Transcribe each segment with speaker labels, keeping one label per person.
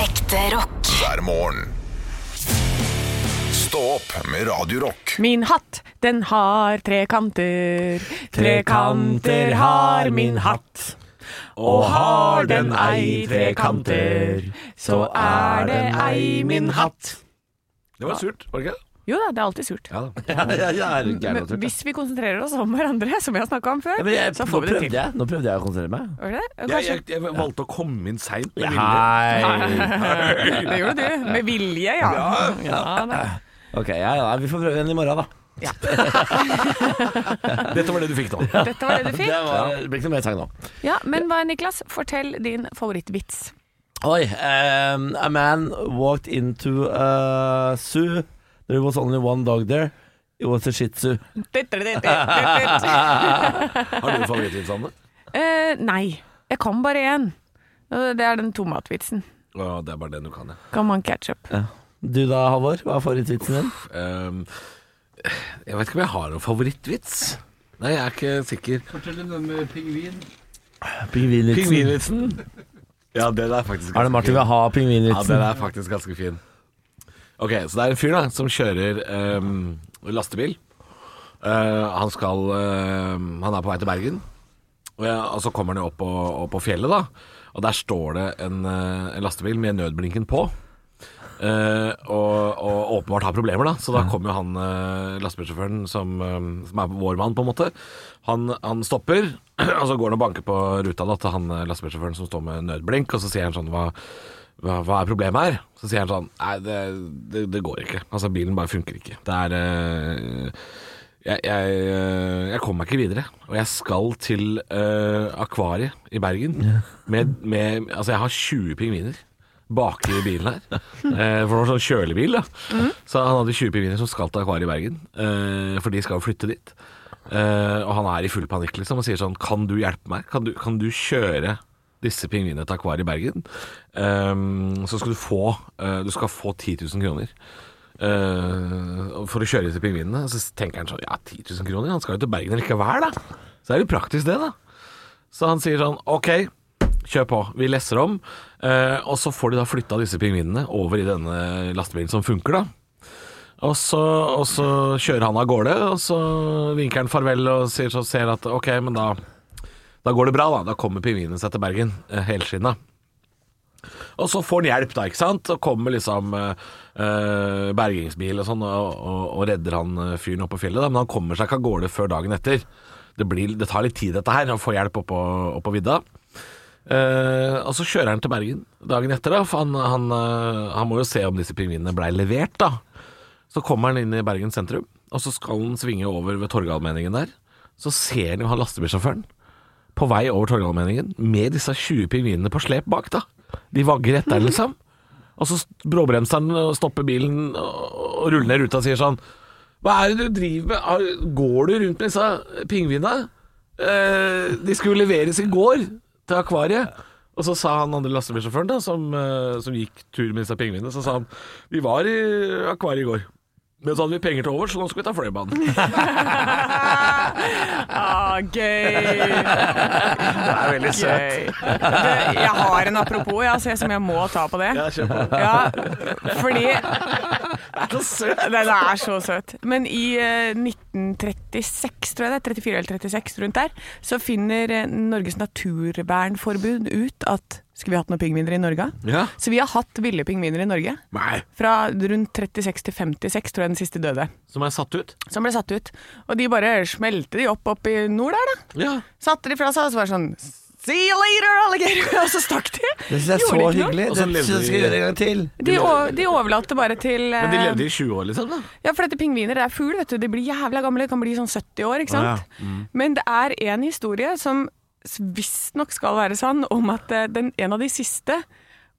Speaker 1: Ekte rock.
Speaker 2: hver morgen. Stå opp med Radio Rock.
Speaker 3: Min hatt, den har tre kanter. Tre kanter har min hatt. Og har den ei tre kanter, så er det ei min hatt.
Speaker 4: Det var surt, var det ikke?
Speaker 3: Jo da, det er alltid surt.
Speaker 4: Ja da.
Speaker 5: Ja, ja, ja, er det
Speaker 3: Men
Speaker 5: gærent å tørke?
Speaker 3: hvis vi konsentrerer oss om hverandre, som vi har snakka om før,
Speaker 5: Ja, men jeg,
Speaker 3: så
Speaker 5: nå
Speaker 3: får vi det
Speaker 5: prøvde
Speaker 3: til.
Speaker 5: jeg, nå prøvde jeg å konsentrere meg.
Speaker 3: Var det det?
Speaker 4: Jeg,
Speaker 3: Kanskje
Speaker 4: jeg, jeg valgte å komme inn seint. med vilje.
Speaker 5: Hei.
Speaker 3: Det gjorde du. Med vilje, ja. ja da.
Speaker 5: Ok, ja, ja, vi får prøve igjen i morgen, da.
Speaker 4: Dette var det du fikk nå.
Speaker 3: Dette var det du
Speaker 5: Det,
Speaker 3: fikk.
Speaker 5: var, det blir ikke noe mer sang nå.
Speaker 3: Ja, men hva, Niklas? Fortell din favorittvits.
Speaker 5: Oi. Um, a man walked into a zoo. There was only one dog there. It was a shih tzu.
Speaker 4: Har du en favorittvits, Anne?
Speaker 3: Eh, nei, jeg kan bare én. Og Det er den tomatvitsen.
Speaker 4: Å, det er bare den du kan, ja.
Speaker 3: Kan man ketchup?
Speaker 5: Du da, Halvor? Hva er favorittvitsen din?
Speaker 4: Ehm, jeg vet ikke om jeg har noen favorittvits. Nei, jeg er ikke sikker.
Speaker 6: Fortell om den med pingvin.
Speaker 5: Pingvinvitsen.
Speaker 4: Pingvinvitsen. Ja, den er faktisk
Speaker 5: Er det Martin vil ha
Speaker 4: Ja, den
Speaker 5: pingvinvitsen?
Speaker 4: er faktisk ganske fin. Ok, så det er en fyr da som kjører ehm, lastebil. Eh, han skal ehm, Han er på vei til Bergen. Og, ja, og så kommer han jo opp på, opp på fjellet, da. Og der står det en, eh, en lastebil med nødblinken på. Eh, og, og åpenbart har problemer, da. Så da kommer jo han eh, lastebilsjåføren som, eh, som er vår mann, på en måte. Han, han stopper, og så går han og banker på ruta da, til han eh, lastebilsjåføren som står med nødblink, og så sier han sånn hva, hva, hva er problemet her? Så sier han sånn Nei, det, det, det går ikke. Altså, bilen bare funker ikke. Det er eh, jeg, jeg, eh, jeg kommer meg ikke videre, og jeg skal til eh, Akvariet i Bergen. Med, med, altså, jeg har 20 pingviner baki i bilen her. Eh, for det var sånn kjølebil, da. Så han hadde 20 pingviner som skal til Akvariet i Bergen, eh, for de skal jo flytte dit. Eh, og han er i full panikk, liksom, og sier sånn Kan du hjelpe meg? Kan du, kan du kjøre disse pingvinene til Akvariet i Bergen? Eh, så skal du få eh, Du skal få 10 000 kroner. Eh, for å kjøre disse pingvinene. Så tenker han sånn Ja, 10 000 kroner? Han skal jo til Bergen likevel, da. Så er det praktisk, det, da. Så han sier sånn Ok, kjør på. Vi lesser om. Eh, og så får de da flytta disse pingvinene over i denne lastebilen som funker, da. Og så, og så kjører han av gårde, og så vinker han farvel og sier, så ser at ok, men da, da går det bra, da. Da kommer pingvinene seg til Bergen, eh, helskinna. Og så får han hjelp, da, ikke sant? Og kommer liksom eh, eh, bergingsbil og sånn, og, og, og redder han eh, fyren oppå fjellet. Da. Men han kommer seg ikke av gårde før dagen etter. Det, blir, det tar litt tid, dette her, å få hjelp oppå, oppå vidda. Eh, og så kjører han til Bergen dagen etter, da, for han, han, eh, han må jo se om disse pingvinene blei levert, da. Så kommer han inn i Bergen sentrum, og så skal han svinge over ved Torgallmenningen der. Så ser han jo han lastebilsjåføren på vei over Torgallmenningen med disse 20 pingvinene på slep bak, da. De vagger etter, liksom. Og så bråbremser han og stopper bilen og og ruller ned ruta og sier sånn Hva er det du driver med? Har- Går du rundt med disse pingvinene? Eh, de skulle leveres i går til akvariet. Og så sa han andre lastebilsjåføren, da, som, eh, som gikk tur med disse pingvinene, så sa han Vi var i akvariet i går. Men så hadde vi penger til overs, så nå skal vi ta Fløibanen.
Speaker 3: Ah, gøy!
Speaker 4: Det er veldig søt.
Speaker 3: gøy. Det- Jeg har en apropos jeg, altså, som jeg må ta på det.
Speaker 4: Ja, kjør på.
Speaker 3: Ja, fordi
Speaker 4: Det er så søt.
Speaker 3: Den er så søt. Men i eh, 1936, tror jeg det er, 34 eller 36, rundt der, så finner eh, Norges naturvernforbund ut at Skulle vi hatt noen pingviner i Norge?
Speaker 4: Ja.
Speaker 3: Så vi har hatt ville pingviner i Norge.
Speaker 4: Nei,
Speaker 3: Fra rundt 36 til 56, tror jeg den siste døde.
Speaker 4: som er satt ut.
Speaker 3: Som ble satt ut. Og de bare smelte de opp opp i nord der, da.
Speaker 4: Ja.
Speaker 3: Satte de fra seg, og så var det sånn See you later, alligator! Og så stakk de.
Speaker 5: Det syns jeg er
Speaker 3: Gjorde
Speaker 5: så
Speaker 3: ikke noe.
Speaker 5: hyggelig.
Speaker 4: Og så
Speaker 5: Det
Speaker 4: levde
Speaker 5: syns jeg
Speaker 4: de-
Speaker 5: skal gjøre en gang til.
Speaker 3: De, o- de overlatte bare til
Speaker 4: Men de
Speaker 3: eh,
Speaker 4: levde i 20 år, liksom? da
Speaker 3: Ja, for dette pingviner det er fugl, vet du. De blir jævla gamle. De kan bli sånn 70 år, ikke sant.
Speaker 5: Mm.
Speaker 3: Men det er en historie som visstnok skal være sann, om at eh, den, en av de siste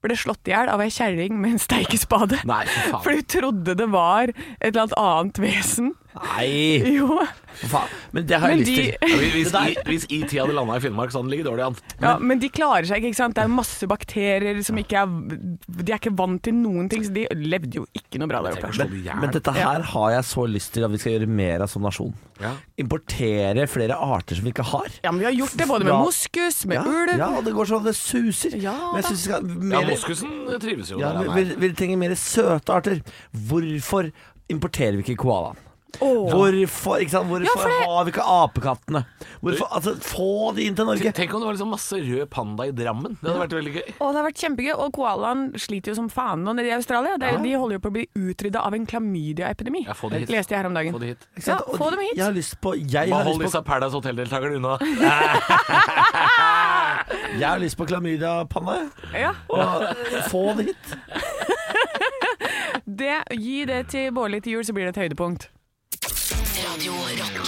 Speaker 3: ble slått i hjel av ei kjerring med en steikespade.
Speaker 4: Nei, for faen.
Speaker 3: For hun trodde det var et eller annet annet vesen
Speaker 5: Nei,
Speaker 3: Jo.
Speaker 5: for faen. Men det har jeg
Speaker 3: Men
Speaker 5: lyst
Speaker 3: de-
Speaker 5: til.
Speaker 4: Ja, hvis- hvis I- Hvis ET hadde landa i Finnmark, så hadde den ligget dårlig an.
Speaker 3: Ja, men de klarer seg ikke, ikke sant. Det er masse bakterier som ikke er De er ikke vant til noen ting, så de levde jo ikke noe bra der
Speaker 4: Tenk å
Speaker 3: oppe.
Speaker 4: slå det i hjel.
Speaker 5: Men dette her har jeg så lyst til at vi skal gjøre mer av som nasjon.
Speaker 4: Ja.
Speaker 5: Importere flere arter som vi ikke har.
Speaker 3: Ja, men vi har gjort det både med
Speaker 5: Ja.
Speaker 3: moskus, med
Speaker 5: ja,
Speaker 3: ulv
Speaker 5: Ja, og det går sånn at det suser.
Speaker 3: Ja,
Speaker 5: men jeg
Speaker 3: da.
Speaker 5: synes vi skal
Speaker 4: Ja,
Speaker 5: mer,
Speaker 4: moskusen eh, trives jo
Speaker 5: ja,
Speaker 4: der han
Speaker 5: vi,
Speaker 4: er.
Speaker 5: vi vi trenger mer søte arter. Hvorfor importerer vi ikke koalaen?
Speaker 3: Åh.
Speaker 5: Hvorfor, ikke sant? Hvorfor
Speaker 3: for det-
Speaker 5: har vi ikke apekattene? Hvorfor, altså, få de inn til Norge!
Speaker 4: Tenk om det var liksom masse rød panda i Drammen. Det hadde vært veldig gøy.
Speaker 3: Og det har vært kjempegøy, og koalaen sliter jo som faen nå nede i Australia. Det, De holder jo på å bli utrydda av en klamydiaepidemi,
Speaker 4: Ja, få de hit.
Speaker 3: leste jeg her om dagen.
Speaker 4: Få de hit.
Speaker 5: Ikke sant?
Speaker 3: Ja,
Speaker 5: Og
Speaker 3: få dem hit.
Speaker 5: Jeg har lyst på, jeg
Speaker 4: Bare
Speaker 5: har
Speaker 4: hold
Speaker 5: lyst
Speaker 4: disse
Speaker 5: på,
Speaker 4: Paradise Hotel-deltakerne unna.
Speaker 5: jeg har lyst på klamydia-panne.
Speaker 3: Ja,
Speaker 5: Og få det hit.
Speaker 3: det, Gi det til Bårli til jul, så blir det et høydepunkt.
Speaker 1: Radio Rock.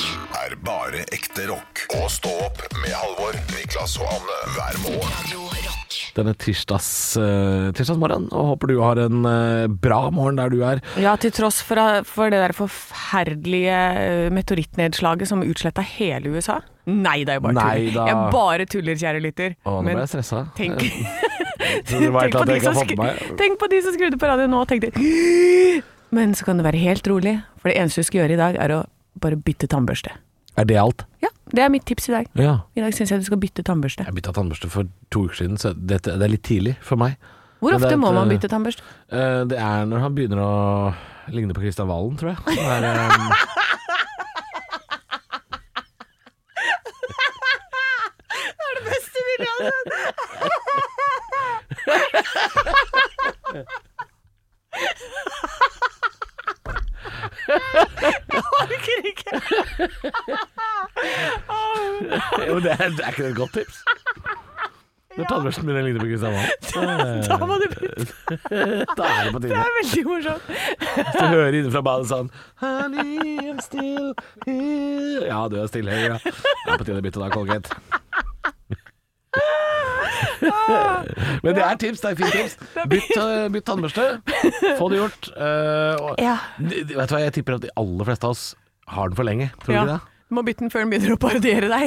Speaker 2: Er bare ekte rock. Og stå opp med Halvor, Niklas og Anne hver morgen.
Speaker 1: Radio Rock.
Speaker 4: Denne tirsdags, eh, tirsdagsmorgen, og håper du har en eh, bra morgen der du er.
Speaker 3: Ja, til tross for, for det der forferdelige eh, meteorittnedslaget som utsletta hele USA. Nei, det er jo bare tull.
Speaker 4: Mm. Nei da.
Speaker 3: Jeg bare tuller, kjære lytter.
Speaker 4: Å, nå
Speaker 3: Men
Speaker 4: ble jeg stressa.
Speaker 3: tenk,
Speaker 4: du vet
Speaker 3: tenk, på
Speaker 4: at
Speaker 3: de
Speaker 4: jeg ikke
Speaker 3: som
Speaker 4: har fått med
Speaker 3: skru- tenk på de som skrudde på radioen nå og tenkte Men så kan du være helt rolig, for det eneste du skal gjøre i dag, er å bare bytte tannbørste.
Speaker 4: Er det alt?
Speaker 3: Ja, det er mitt tips i dag.
Speaker 4: Ja.
Speaker 3: I dag syns jeg du skal bytte tannbørste.
Speaker 4: Jeg bytta tannbørste for to uker siden, så dette, det er litt tidlig for meg.
Speaker 3: Hvor
Speaker 4: Men det
Speaker 3: ofte
Speaker 4: er
Speaker 3: må
Speaker 4: et,
Speaker 3: man
Speaker 4: eh,
Speaker 3: bytte tannbørste?
Speaker 4: Eh, det er når han begynner å ligne på Kristian Valen, tror jeg. Det er, eh,
Speaker 3: Orker ikke!
Speaker 4: jo, det er, det er ikke det et godt tips? Når tannbørsten begynner å ligne på Kristian Valen.
Speaker 3: Da må du bytte.
Speaker 4: Da er det på
Speaker 3: Det
Speaker 4: tide.
Speaker 3: er veldig morsomt.
Speaker 4: Hvis du hører innenfra badet sånn Honey, I'm still here Ja, du er stille, ja. Det er på tide å bytte da, Colgate. Men det er tips, det er fint tips. Bytt, eh, bytt tannbørste. Få det gjort. Eh, og,
Speaker 3: Ja.
Speaker 4: Vet du hva, jeg tipper at de aller fleste av oss har den for lenge. Tror du ikke
Speaker 3: Ja.
Speaker 4: det?
Speaker 3: Du må bytte den før den begynner å parodiere deg.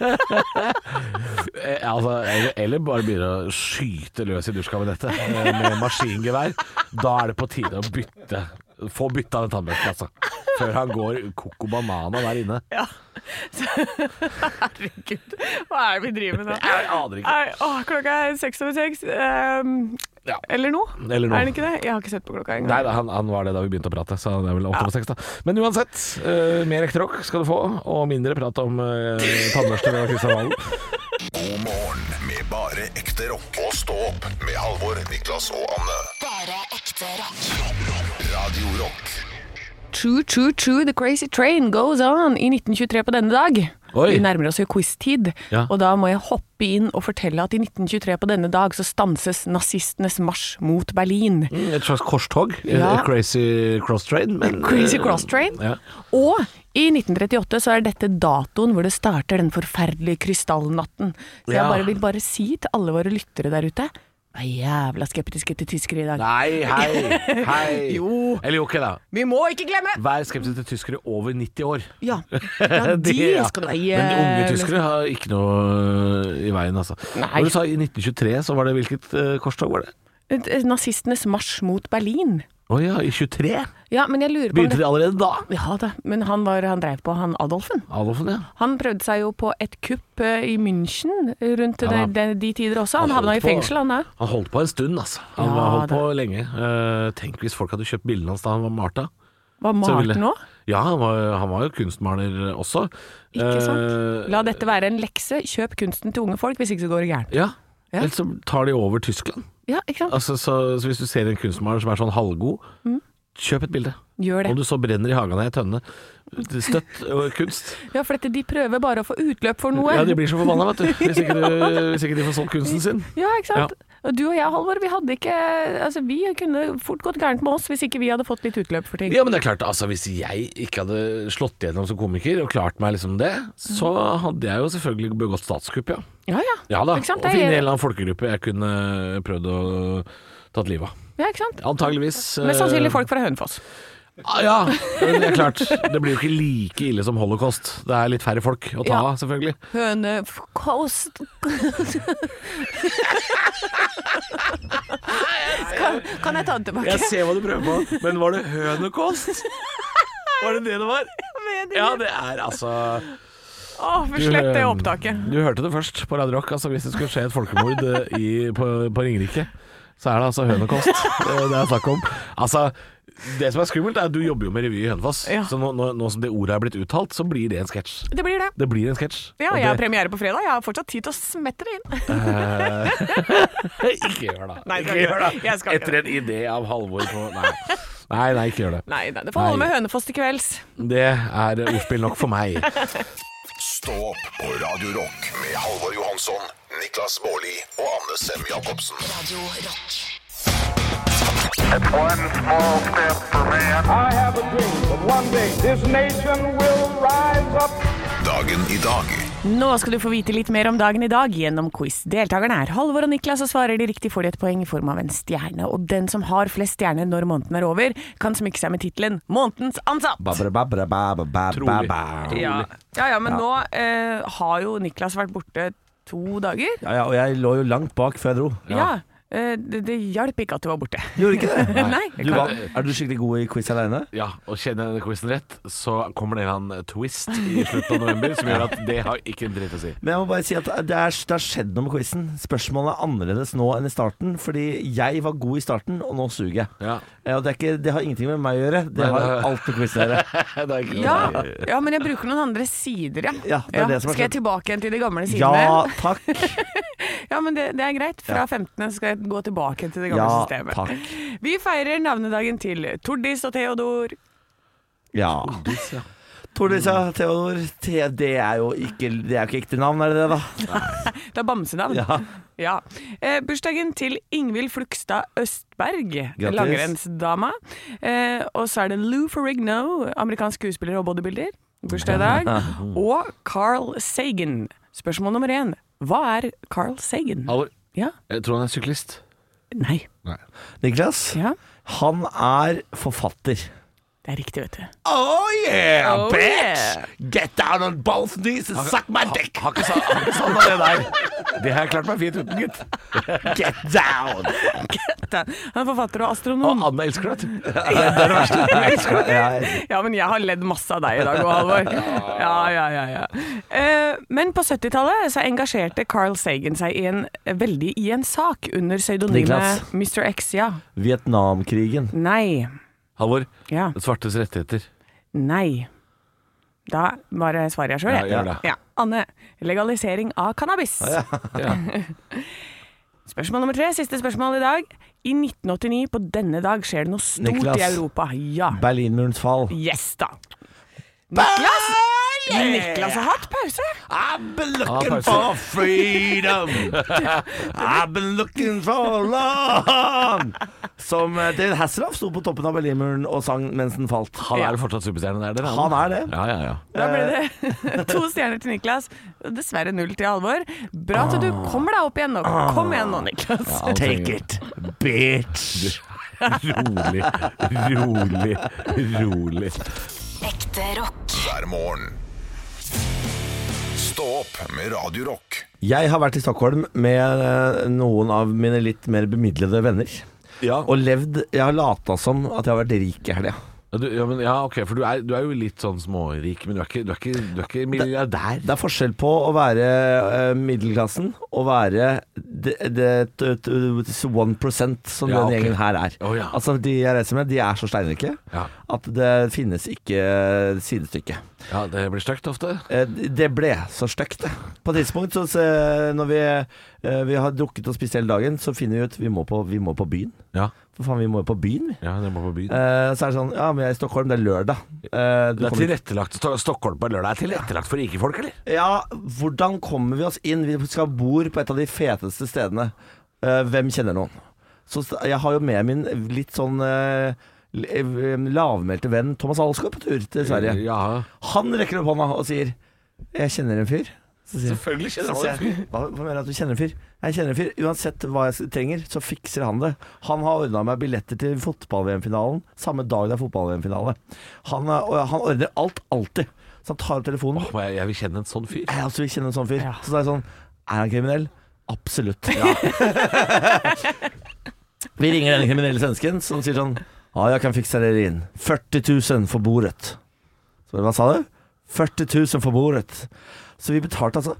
Speaker 4: Eh, altså, eller, eller bare begynne å skyte løs i dusjkabinettet eh, med maskingevær. Da er det på tide å bytte. Få bytta den tannbørsten, altså. Før han går koko banana der inne.
Speaker 3: Herregud, hva er det vi driver med nå?
Speaker 4: Jeg aner ikke.
Speaker 3: Nei, åh, klokka er seks over seks. ehm,
Speaker 4: Ja.
Speaker 3: Eller nå?
Speaker 4: Eller nå.
Speaker 3: Er den ikke det? Jeg har ikke sett på klokka
Speaker 4: Nei,
Speaker 3: engang.
Speaker 4: da, han, han var det da vi begynte å prate, så det er vel åtte over seks, da. Men uansett, eh, mer ekte rock skal du få, og mindre prat om uh, tannbørste ved Kristian Valen.
Speaker 2: God morgen med bare ekte rock. Og stå opp med Halvor, Niklas og Anne.
Speaker 1: Bare ekte rock.
Speaker 2: Radio Rock.
Speaker 3: True, true, true, the crazy train goes on i 1923 på denne dag.
Speaker 4: Oi.
Speaker 3: Vi nærmer oss jo quiz-tid,
Speaker 4: Ja.
Speaker 3: og da må jeg hoppe inn og fortelle at i 1923 på denne dag så stanses nazistenes marsj mot Berlin.
Speaker 4: Mm, Et slags korstog.
Speaker 3: Ja.
Speaker 4: Crazy cross train. Men, eh,
Speaker 3: Crazy cross train.
Speaker 4: Ja.
Speaker 3: Og i 1938 så er dette datoen hvor det starter den forferdelige krystallnatten. Så jeg
Speaker 4: Ja.
Speaker 3: bare vil bare si til alle våre lyttere der ute, vær jævla skeptiske til tyskere i dag.
Speaker 4: Nei, hei, hei.
Speaker 3: Jo.
Speaker 4: Eller jo ikke, da.
Speaker 3: Vi må ikke glemme!
Speaker 4: Vær skeptisk til tyskere over 90 år.
Speaker 3: Ja, ja de
Speaker 4: ja.
Speaker 3: skal du være
Speaker 4: Men de unge
Speaker 3: jævla-
Speaker 4: tyskere har ikke noe øh, i veien, altså.
Speaker 3: Nei.
Speaker 4: Når du sa i 1923, så var det hvilket øh, korstog var det?
Speaker 3: Nazistenes marsj mot Berlin.
Speaker 4: Å ja, i 23?
Speaker 3: Ja, men jeg lurer på om
Speaker 4: Begynte
Speaker 3: det...
Speaker 4: de allerede da?
Speaker 3: Ja da, men han, var, han drev på, han Adolfen.
Speaker 4: Adolfen, ja.
Speaker 3: Han prøvde seg jo på et kupp eh, i München eh, rundt
Speaker 4: Ja,
Speaker 3: de, de, de tider også.
Speaker 4: Han
Speaker 3: Han havna
Speaker 4: holdt
Speaker 3: i
Speaker 4: på.
Speaker 3: fengsel, han der.
Speaker 4: Han holdt på en stund, altså. Han
Speaker 3: Ja,
Speaker 4: holdt
Speaker 3: da.
Speaker 4: på lenge. Eh, tenk hvis folk hadde kjøpt bildene hans da han var malt av.
Speaker 3: Var
Speaker 4: Så ville-
Speaker 3: Marten nå?
Speaker 4: Ja, han var, han var jo kunstmaler også.
Speaker 3: Ikke
Speaker 4: Eh,
Speaker 3: sant? La dette være en lekse. Kjøp kunsten til unge folk, hvis ikke så går det gærent.
Speaker 4: Ja.
Speaker 3: Ja.
Speaker 4: Ellers så tar de over Tyskland.
Speaker 3: Ja, ikke sant?
Speaker 4: Altså, så, så hvis du ser en kunstmaler som er sånn halvgod,
Speaker 3: Mm.
Speaker 4: kjøp et bilde.
Speaker 3: Gjør
Speaker 4: Om
Speaker 3: det.
Speaker 4: du så brenner i hagen her i tønne. Støtt øh, kunst.
Speaker 3: Ja, for dette, de prøver bare å få utløp for noe.
Speaker 4: Ja, de blir så forbanna, vet du. Hvis ikke, du, hvis ikke de får solgt kunsten sin.
Speaker 3: Ja, ikke sant? Og du og jeg, Halvor, vi hadde ikke Altså, vi kunne fort gått gærent med oss hvis ikke vi hadde fått litt utløp for ting.
Speaker 4: Ja, men det er klart, altså Hvis jeg ikke hadde slått igjennom som komiker og klart meg liksom det, så hadde jeg jo selvfølgelig begått statskupp, ja.
Speaker 3: Ja ja.
Speaker 4: Ja da.
Speaker 3: Ikke sant?
Speaker 4: Og
Speaker 3: Det
Speaker 4: finne en
Speaker 3: er-
Speaker 4: eller annen folkegruppe jeg kunne prøvd å tatt livet av.
Speaker 3: Ja, ikke sant?
Speaker 4: Antageligvis.
Speaker 3: Mest sannsynlig
Speaker 4: eh,
Speaker 3: folk fra Hønefoss.
Speaker 4: Ah, Ja, det er klart. Det blir jo ikke like ille som holocaust. Det er litt færre folk å ta
Speaker 3: Ja.
Speaker 4: av, selvfølgelig.
Speaker 3: Hønefoss kan, kan jeg ta den tilbake?
Speaker 4: ser hva du prøver på, men var det hønekost? Var det det det var? Ja, det er altså
Speaker 3: Å, for slett det opptaket.
Speaker 4: Du hørte det først på Radio Rock. Altså, hvis det skulle skje et folkemord eh, i, på, på Ringerike, så er det altså hønekost eh, det er snakk om. Altså, det som er skummelt, er at du jobber jo med revy i Hønefoss.
Speaker 3: Ja.
Speaker 4: Så nå, nå, nå som det ordet er blitt uttalt, så blir det en sketsj.
Speaker 3: Det blir det.
Speaker 4: Det blir en sketsj.
Speaker 3: Ja,
Speaker 4: Og
Speaker 3: jeg har
Speaker 4: det-
Speaker 3: premiere på fredag. Jeg har fortsatt tid til å smette det inn.
Speaker 4: Ikke gjør det.
Speaker 3: Nei, jeg skal
Speaker 4: Ikke
Speaker 3: ikke
Speaker 4: gjør
Speaker 3: gjøre
Speaker 4: det.
Speaker 3: det. Jeg skal ikke
Speaker 4: Etter en idé av Halvor på Nei. Nei, nei, ikke gjør det.
Speaker 3: Nei, nei, det får holde
Speaker 4: Nei.
Speaker 3: med Hønefoss til kvelds.
Speaker 4: Det er ordspill nok for meg.
Speaker 2: Stå opp på Radio Rock med Halvor Johansson, Niklas Baarli og Anne Sem Jacobsen.
Speaker 1: Radio Rock.
Speaker 6: One small step for man.
Speaker 7: I have a dream that one day this nation will rise up.
Speaker 2: Dagen i dag
Speaker 3: Nå skal du få vite litt mer om dagen i dag gjennom quiz. Deltakerne er Halvor og Niklas, og svarer de riktig får de et poeng i form av en stjerne. Og den som har flest stjerner når måneden er over, kan smykke seg med tittelen 'Månedens ansatt'.
Speaker 5: Babra, babra, babra, babra,
Speaker 4: Trolig.
Speaker 5: babra.
Speaker 3: Ja, ja, ja men nå eh, har jo Niklas vært borte to dager.
Speaker 5: Ja, ja, og jeg lå jo langt bak før jeg dro.
Speaker 3: Ja. eh, det, det hjalp ikke at du var borte.
Speaker 5: Gjorde ikke det?
Speaker 3: Nei, jeg
Speaker 5: Du,
Speaker 3: kan-
Speaker 5: var, er du skikkelig god i quiz aleine?
Speaker 4: Ja, og Kjenner jeg denne quizen rett, så kommer det en eller annen twist i slutten av november som gjør at det har ikke en dritt å si.
Speaker 5: Men jeg må bare si at det, er, det har skjedd noe med quizen. Spørsmålene er annerledes nå enn i starten. Fordi jeg var god i starten, og nå suger jeg.
Speaker 4: Ja.
Speaker 5: Eh, Og det, er ikke, det har ingenting med meg å gjøre. Det
Speaker 4: Nei,
Speaker 5: har
Speaker 4: det-
Speaker 5: alt med quizen å gjøre.
Speaker 4: Det er ikke
Speaker 3: ja, ja, men jeg bruker noen andre sider, ja.
Speaker 5: Ja, det er det som er
Speaker 3: skal jeg tilbake igjen til de gamle
Speaker 5: Ja,
Speaker 3: sidene?
Speaker 5: takk.
Speaker 3: Ja, men det, det er greit. Fra
Speaker 5: Ja.
Speaker 3: 15. skal jeg gå tilbake til det gamle
Speaker 5: Ja,
Speaker 3: systemet.
Speaker 5: takk.
Speaker 3: Vi feirer navnedagen til Tordis og Theodor.
Speaker 5: Ja. Tordisa, Theodor. Te- Det er jo ikke, det er jo ikke ekte navn, er det det, da?
Speaker 3: Det er bamsenavn.
Speaker 5: Ja.
Speaker 3: Ja. Eh, bursdagen til Ingvild Flugstad Østberg,
Speaker 5: Grattis.
Speaker 3: langrennsdama. Eh, og så er det Lou Ferrigno, amerikansk skuespiller og bodybuilder. Bursdag i dag. Og Carl Sagan. Spørsmål nummer én. Hva er Carl Sagan?
Speaker 4: Halvor,
Speaker 3: Ja.
Speaker 4: jeg tror han er syklist.
Speaker 3: Nei.
Speaker 5: Niklas,
Speaker 3: Ja.
Speaker 5: han er forfatter.
Speaker 3: Det er riktig, vet du.
Speaker 5: Oh yeah,
Speaker 3: Oh, bitch! yeah.
Speaker 5: Get down on both knees and suck my dick!
Speaker 4: Har ikke sa- har ikke savna det der. Det har jeg klart meg fint uten, gutt.
Speaker 5: Get down!
Speaker 3: Han er forfatter og astronom.
Speaker 4: Og Anne elsker det.
Speaker 3: Ja, men jeg har ledd masse av deg i dag òg, Halvor. Ja, ja, ja, ja. Eh, men på 70-tallet så engasjerte Carl Sagan seg i en, veldig i en sak under pseudonymet
Speaker 5: Niklas.
Speaker 3: Mr. X. Ja.
Speaker 5: Vietnamkrigen.
Speaker 3: Nei.
Speaker 4: Halvor,
Speaker 3: Ja.
Speaker 4: svartes rettigheter.
Speaker 3: Nei. Da bare svarer jeg sjøl, jeg.
Speaker 4: Ja, gjør det.
Speaker 3: Ja. Anne. Legalisering av cannabis. Spørsmål nummer tre. Siste spørsmål i dag. I 1989 på denne dag skjer det noe stort
Speaker 5: Niklas.
Speaker 3: i Europa. Ja.
Speaker 5: Berlinmurens fall.
Speaker 3: Yes, da. Niklas! Niklas har hatt pause.
Speaker 5: I've been
Speaker 4: Ah,
Speaker 5: looking
Speaker 4: pause.
Speaker 5: for freedom. Ah, I've been looking for love. Som eh, David Hasselhoff sto på toppen av Berlinmuren og sang mens den falt.
Speaker 4: Han er jo fortsatt superstjerne der, dere.
Speaker 5: Han er det.
Speaker 4: Ja, ja, ja.
Speaker 3: Da ble det to stjerner til Niklas. Dessverre null til Halvor. Bra at du kommer deg opp igjen nå. Kom igjen nå, Niklas.
Speaker 5: Take it, bitch.
Speaker 4: Rolig, rolig, rolig.
Speaker 1: Ekte rock.
Speaker 2: hver morgen. Stå opp med Radio Rock.
Speaker 5: Jeg har vært i Stockholm med eh, noen av mine litt mer bemidlede venner.
Speaker 4: Ja.
Speaker 5: Og levd Jeg har lata som at jeg har vært rik i helga.
Speaker 4: Ja, du, ja, men, ja, ok, for du er, du er jo litt sånn smårik, men du er ikke, du er ikke, du er ikke milliardær.
Speaker 5: Det er forskjell på å være eh, middelklassen og være det, det, t- t- 1 som
Speaker 4: Ja,
Speaker 5: den
Speaker 4: ok.
Speaker 5: gjengen her er.
Speaker 4: Å, ja.
Speaker 5: Altså De jeg reiser med, de er så steinrike
Speaker 4: Ja.
Speaker 5: at det finnes ikke sidestykke.
Speaker 4: Ja, det blir stygt ofte.
Speaker 5: Eh, Det ble så stygt, det. På et tidspunkt, så, se- når vi, eh, vi har drukket og spist hele dagen, så finner vi ut vi må på, vi må på byen.
Speaker 4: Ja,
Speaker 5: For faen, vi må jo på byen, vi.
Speaker 4: ja det må på byen.
Speaker 5: Eh, Så er det sånn Ja, men jeg er i Stockholm, det er lørdag. Eh, du
Speaker 4: Det er
Speaker 5: kommer-
Speaker 4: tilrettelagt, Sto- Stockholm på lørdag er tilrettelagt for rike folk, eller?
Speaker 5: Ja, hvordan kommer vi oss inn? Vi skal bo på et av de feteste stedene. Eh, hvem kjenner noen? Så st- jeg har jo med min litt sånn eh, l- eh, lavmælte venn Thomas Alsgaard på tur til Sverige.
Speaker 4: Ja,
Speaker 5: Han rekker opp hånda og sier 'Jeg kjenner en fyr Så sier jeg-
Speaker 4: Selvfølgelig
Speaker 5: så
Speaker 4: kjenner
Speaker 5: sier
Speaker 4: han det.
Speaker 5: jeg, hva, hva mener du at du kjenner en fyr? Jeg kjenner en fyr. Uansett hva jeg trenger, så fikser han det. Han har ordna meg billetter til fotball-VM-finalen samme dag det er fotball-VM-finale. Han, er- og han ordner alt, alltid. Så han tar opp telefonen.
Speaker 4: Åh, jeg, jeg vil kjenne en sånn fyr.
Speaker 5: Jeg også vil kjenne en sånn fyr.
Speaker 3: Ja.
Speaker 5: Så da er jeg sånn Er han kriminell? Absolutt. Vi ringer den kriminelle svensken som sier sånn Ja, jeg kan fikse dere inn. 40 000 for bordet. Så hva sa du? 40 000 for bordet. Så vi betalte altså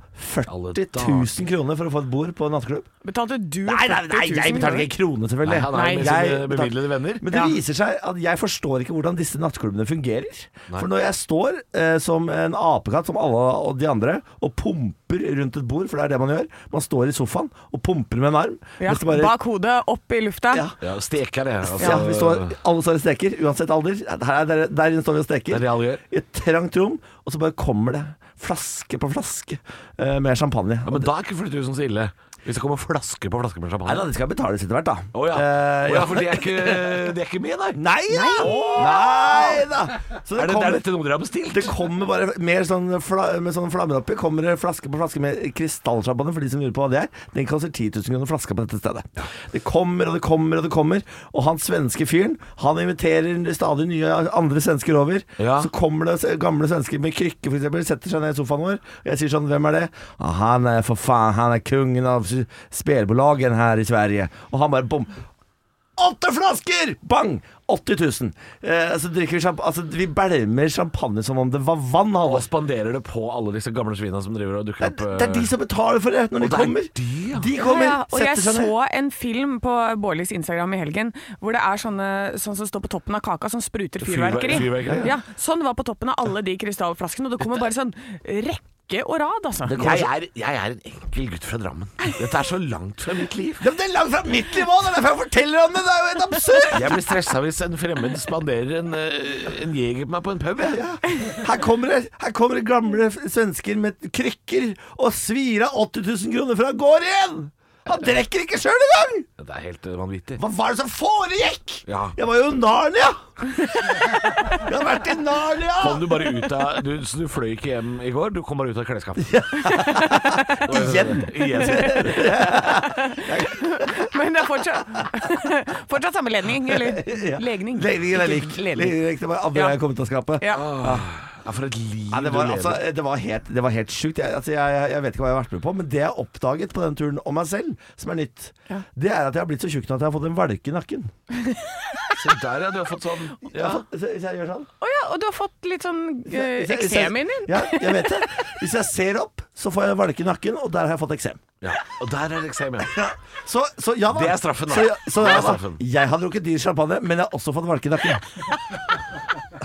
Speaker 4: Alle
Speaker 5: 40
Speaker 4: dager.
Speaker 5: 000 kroner for å få et bord på en natteklubb.
Speaker 3: Betalte du
Speaker 5: Nei, nei, nei,
Speaker 3: 40 000
Speaker 5: jeg betalte ikke en krone, selvfølgelig.
Speaker 4: Nei, han er jo med
Speaker 5: Nei, jeg
Speaker 4: sine
Speaker 5: betalte-
Speaker 4: bevilgede venner.
Speaker 5: men det
Speaker 3: Ja.
Speaker 5: viser seg at jeg forstår ikke hvordan disse nattklubbene fungerer. For når jeg står eh, som en apekatt, som alle og de andre, og pumper rundt et bord, for det er det man gjør Man står i sofaen og pumper med en arm.
Speaker 3: Ja,
Speaker 5: mens det bare-
Speaker 3: Bak hodet, opp i lufta.
Speaker 5: Ja.
Speaker 4: Ja, steker det. Altså,
Speaker 5: ja, vi står, alle står og steker, uansett alder. Her er, der, der inne står vi og steker.
Speaker 4: Det er det alle gjør.
Speaker 5: I et trangt rom, og så bare kommer det flaske på flaske eh, med champagne.
Speaker 4: Ja, men da er ikke 40 000 så ille. Hvis det kommer flaske på flaske med
Speaker 5: Nei da,
Speaker 4: champagne.
Speaker 5: det skal betales etter hvert, da.
Speaker 4: Å ja.
Speaker 5: Eh,
Speaker 4: Å ja,
Speaker 5: ja.
Speaker 4: for det er ikke, det er ikke med, nei.
Speaker 5: Nei da! Nei da! Så
Speaker 4: Er, det,
Speaker 5: kommer-
Speaker 4: er dette noe dere har bestilt?
Speaker 5: Det kommer bare mer sånn fla, med sånne flammer oppi. Kommer det flaske på flaske med krystallsjampanje, for de som lurer på hva det er. Den koster 10 000 kroner flaska på dette stedet. Det kommer og det kommer og det kommer. Og han svenske fyren, han inviterer stadig nye andre svensker over.
Speaker 4: Ja.
Speaker 5: Så kommer det s- gamle svensker med krykke, for eksempel setter seg ned i sofaen vår. Og jeg sier sånn, hvem er det? Ah, han er for faen, han er kongen av s- spelbolagen her i Sverige. Og han bare bom. Åtte flasker! Bang! 80 000. Eh, så drikker vi sjamp... Altså, vi bælmer champagne som om det var vann.
Speaker 4: Og
Speaker 5: Halvor.
Speaker 4: spanderer det på alle disse gamle svina som driver og dukker
Speaker 5: Det,
Speaker 4: opp? eh?
Speaker 5: er- det er de som betaler for det når de
Speaker 4: det er
Speaker 5: kommer.
Speaker 4: de, ja.
Speaker 5: De
Speaker 3: Ja,
Speaker 5: kommer,
Speaker 3: ja. Og jeg
Speaker 5: setter seg sånn ned.
Speaker 3: så en film på Bårlis Instagram i helgen hvor det er sånne sånn som står på toppen av kaka, som spruter
Speaker 4: Fyrver-
Speaker 3: fyrverkeri.
Speaker 4: fyrverkeri, ja.
Speaker 3: Ja, sånn var på toppen av alle de krystallflaskene, og det kommer bare sånn rekke og rad, altså.
Speaker 4: Jeg er, jeg er en enkel gutt fra Drammen. Dette er så langt fra mitt liv.
Speaker 5: Ja, men det er langt fra mitt nivå! Det er derfor jeg forteller om det! Det er jo helt absurd!
Speaker 4: Jeg blir stressa hvis en fremmed spanderer en, eh, en jeger på meg på en pub. jeg.
Speaker 5: Her kommer det, her kommer det gamle f- svensker med krykker og svir av 80 000 kroner fra gård igjen! Han drikker ikke sjøl engang!
Speaker 4: Det er helt eh, vanvittig.
Speaker 5: Hva var det som foregikk?
Speaker 4: Ja.
Speaker 5: Jeg var jo i Narnia! Jeg har vært i Narnia!
Speaker 4: Kom du bare ut av du, Så du fløy ikke hjem i går? Du kom bare ut av klesskapet?
Speaker 5: Igjen.
Speaker 4: Igjen.
Speaker 3: Men det er fortsatt, fortsatt samme ledning, eller legning.
Speaker 5: Legningen er lik.
Speaker 3: Ikke Ledning.
Speaker 5: Legningen Ah. er lik. Det var andre
Speaker 3: Ja.
Speaker 5: jeg kom ut av skapet.
Speaker 3: Ja.
Speaker 4: Ja, for et liv
Speaker 5: Nei, det, var,
Speaker 4: du lever.
Speaker 5: altså, det, var helt, det var helt sjukt. Jeg, altså, jeg, jeg, jeg vet ikke hva jeg har vært med på, men det jeg oppdaget på den turen om meg selv, som er nytt, det er at jeg har blitt så tjukk nå at jeg har fått en valke i nakken.
Speaker 4: Se der, ja. Du har fått sånn
Speaker 5: Jeg
Speaker 4: ja.
Speaker 5: har fått- Hvis jeg, hvis jeg gjør sånn
Speaker 3: Å ja, og du har fått litt sånn eh,
Speaker 5: Hvis jeg- hvis jeg-
Speaker 3: eksem inn din.
Speaker 5: Ja, jeg vet det. Hvis jeg ser opp, så får jeg en valke i nakken, og der har jeg fått eksem.
Speaker 4: ja. Og der er eksem, ja.
Speaker 5: Så, så ja da.
Speaker 4: Det er straffen, da.
Speaker 5: Så, ja- så,
Speaker 4: Det er
Speaker 5: ja da.
Speaker 4: straffen.
Speaker 5: Jeg har drukket dyr champagne, men jeg har også fått valke i nakken.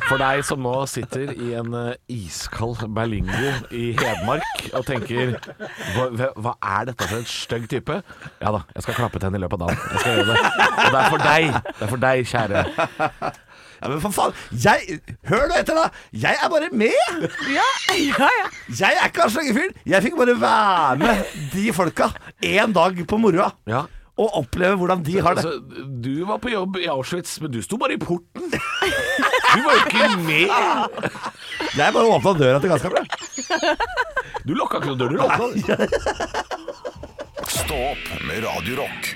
Speaker 4: For deg som nå sitter i en eh, iskald berlingo i Hedmark og tenker hva, hva- hva er dette for en stygg type? Ja da, jeg skal klappe til henne i løpet av dagen. Jeg skal gjøre det. Og det er for deg. Det er for deg, kjære.
Speaker 5: Ja, men for faen. Jeg, hør nå etter, da. Jeg er bare med.
Speaker 3: Ja, ja, ja.
Speaker 5: Jeg er ikke han slenge fyren. Jeg fikk bare være med de folka én dag på moroa.
Speaker 4: Ja.
Speaker 5: Og oppleve hvordan de har det.
Speaker 4: Altså, du var på jobb i Auschwitz, men du sto bare i porten. Du var jo ikke med.
Speaker 5: Jeg bare åpna døra til gasskapet.
Speaker 4: Du lokka ikke noen dør, du lokka.
Speaker 2: Stå opp med Radio Rock.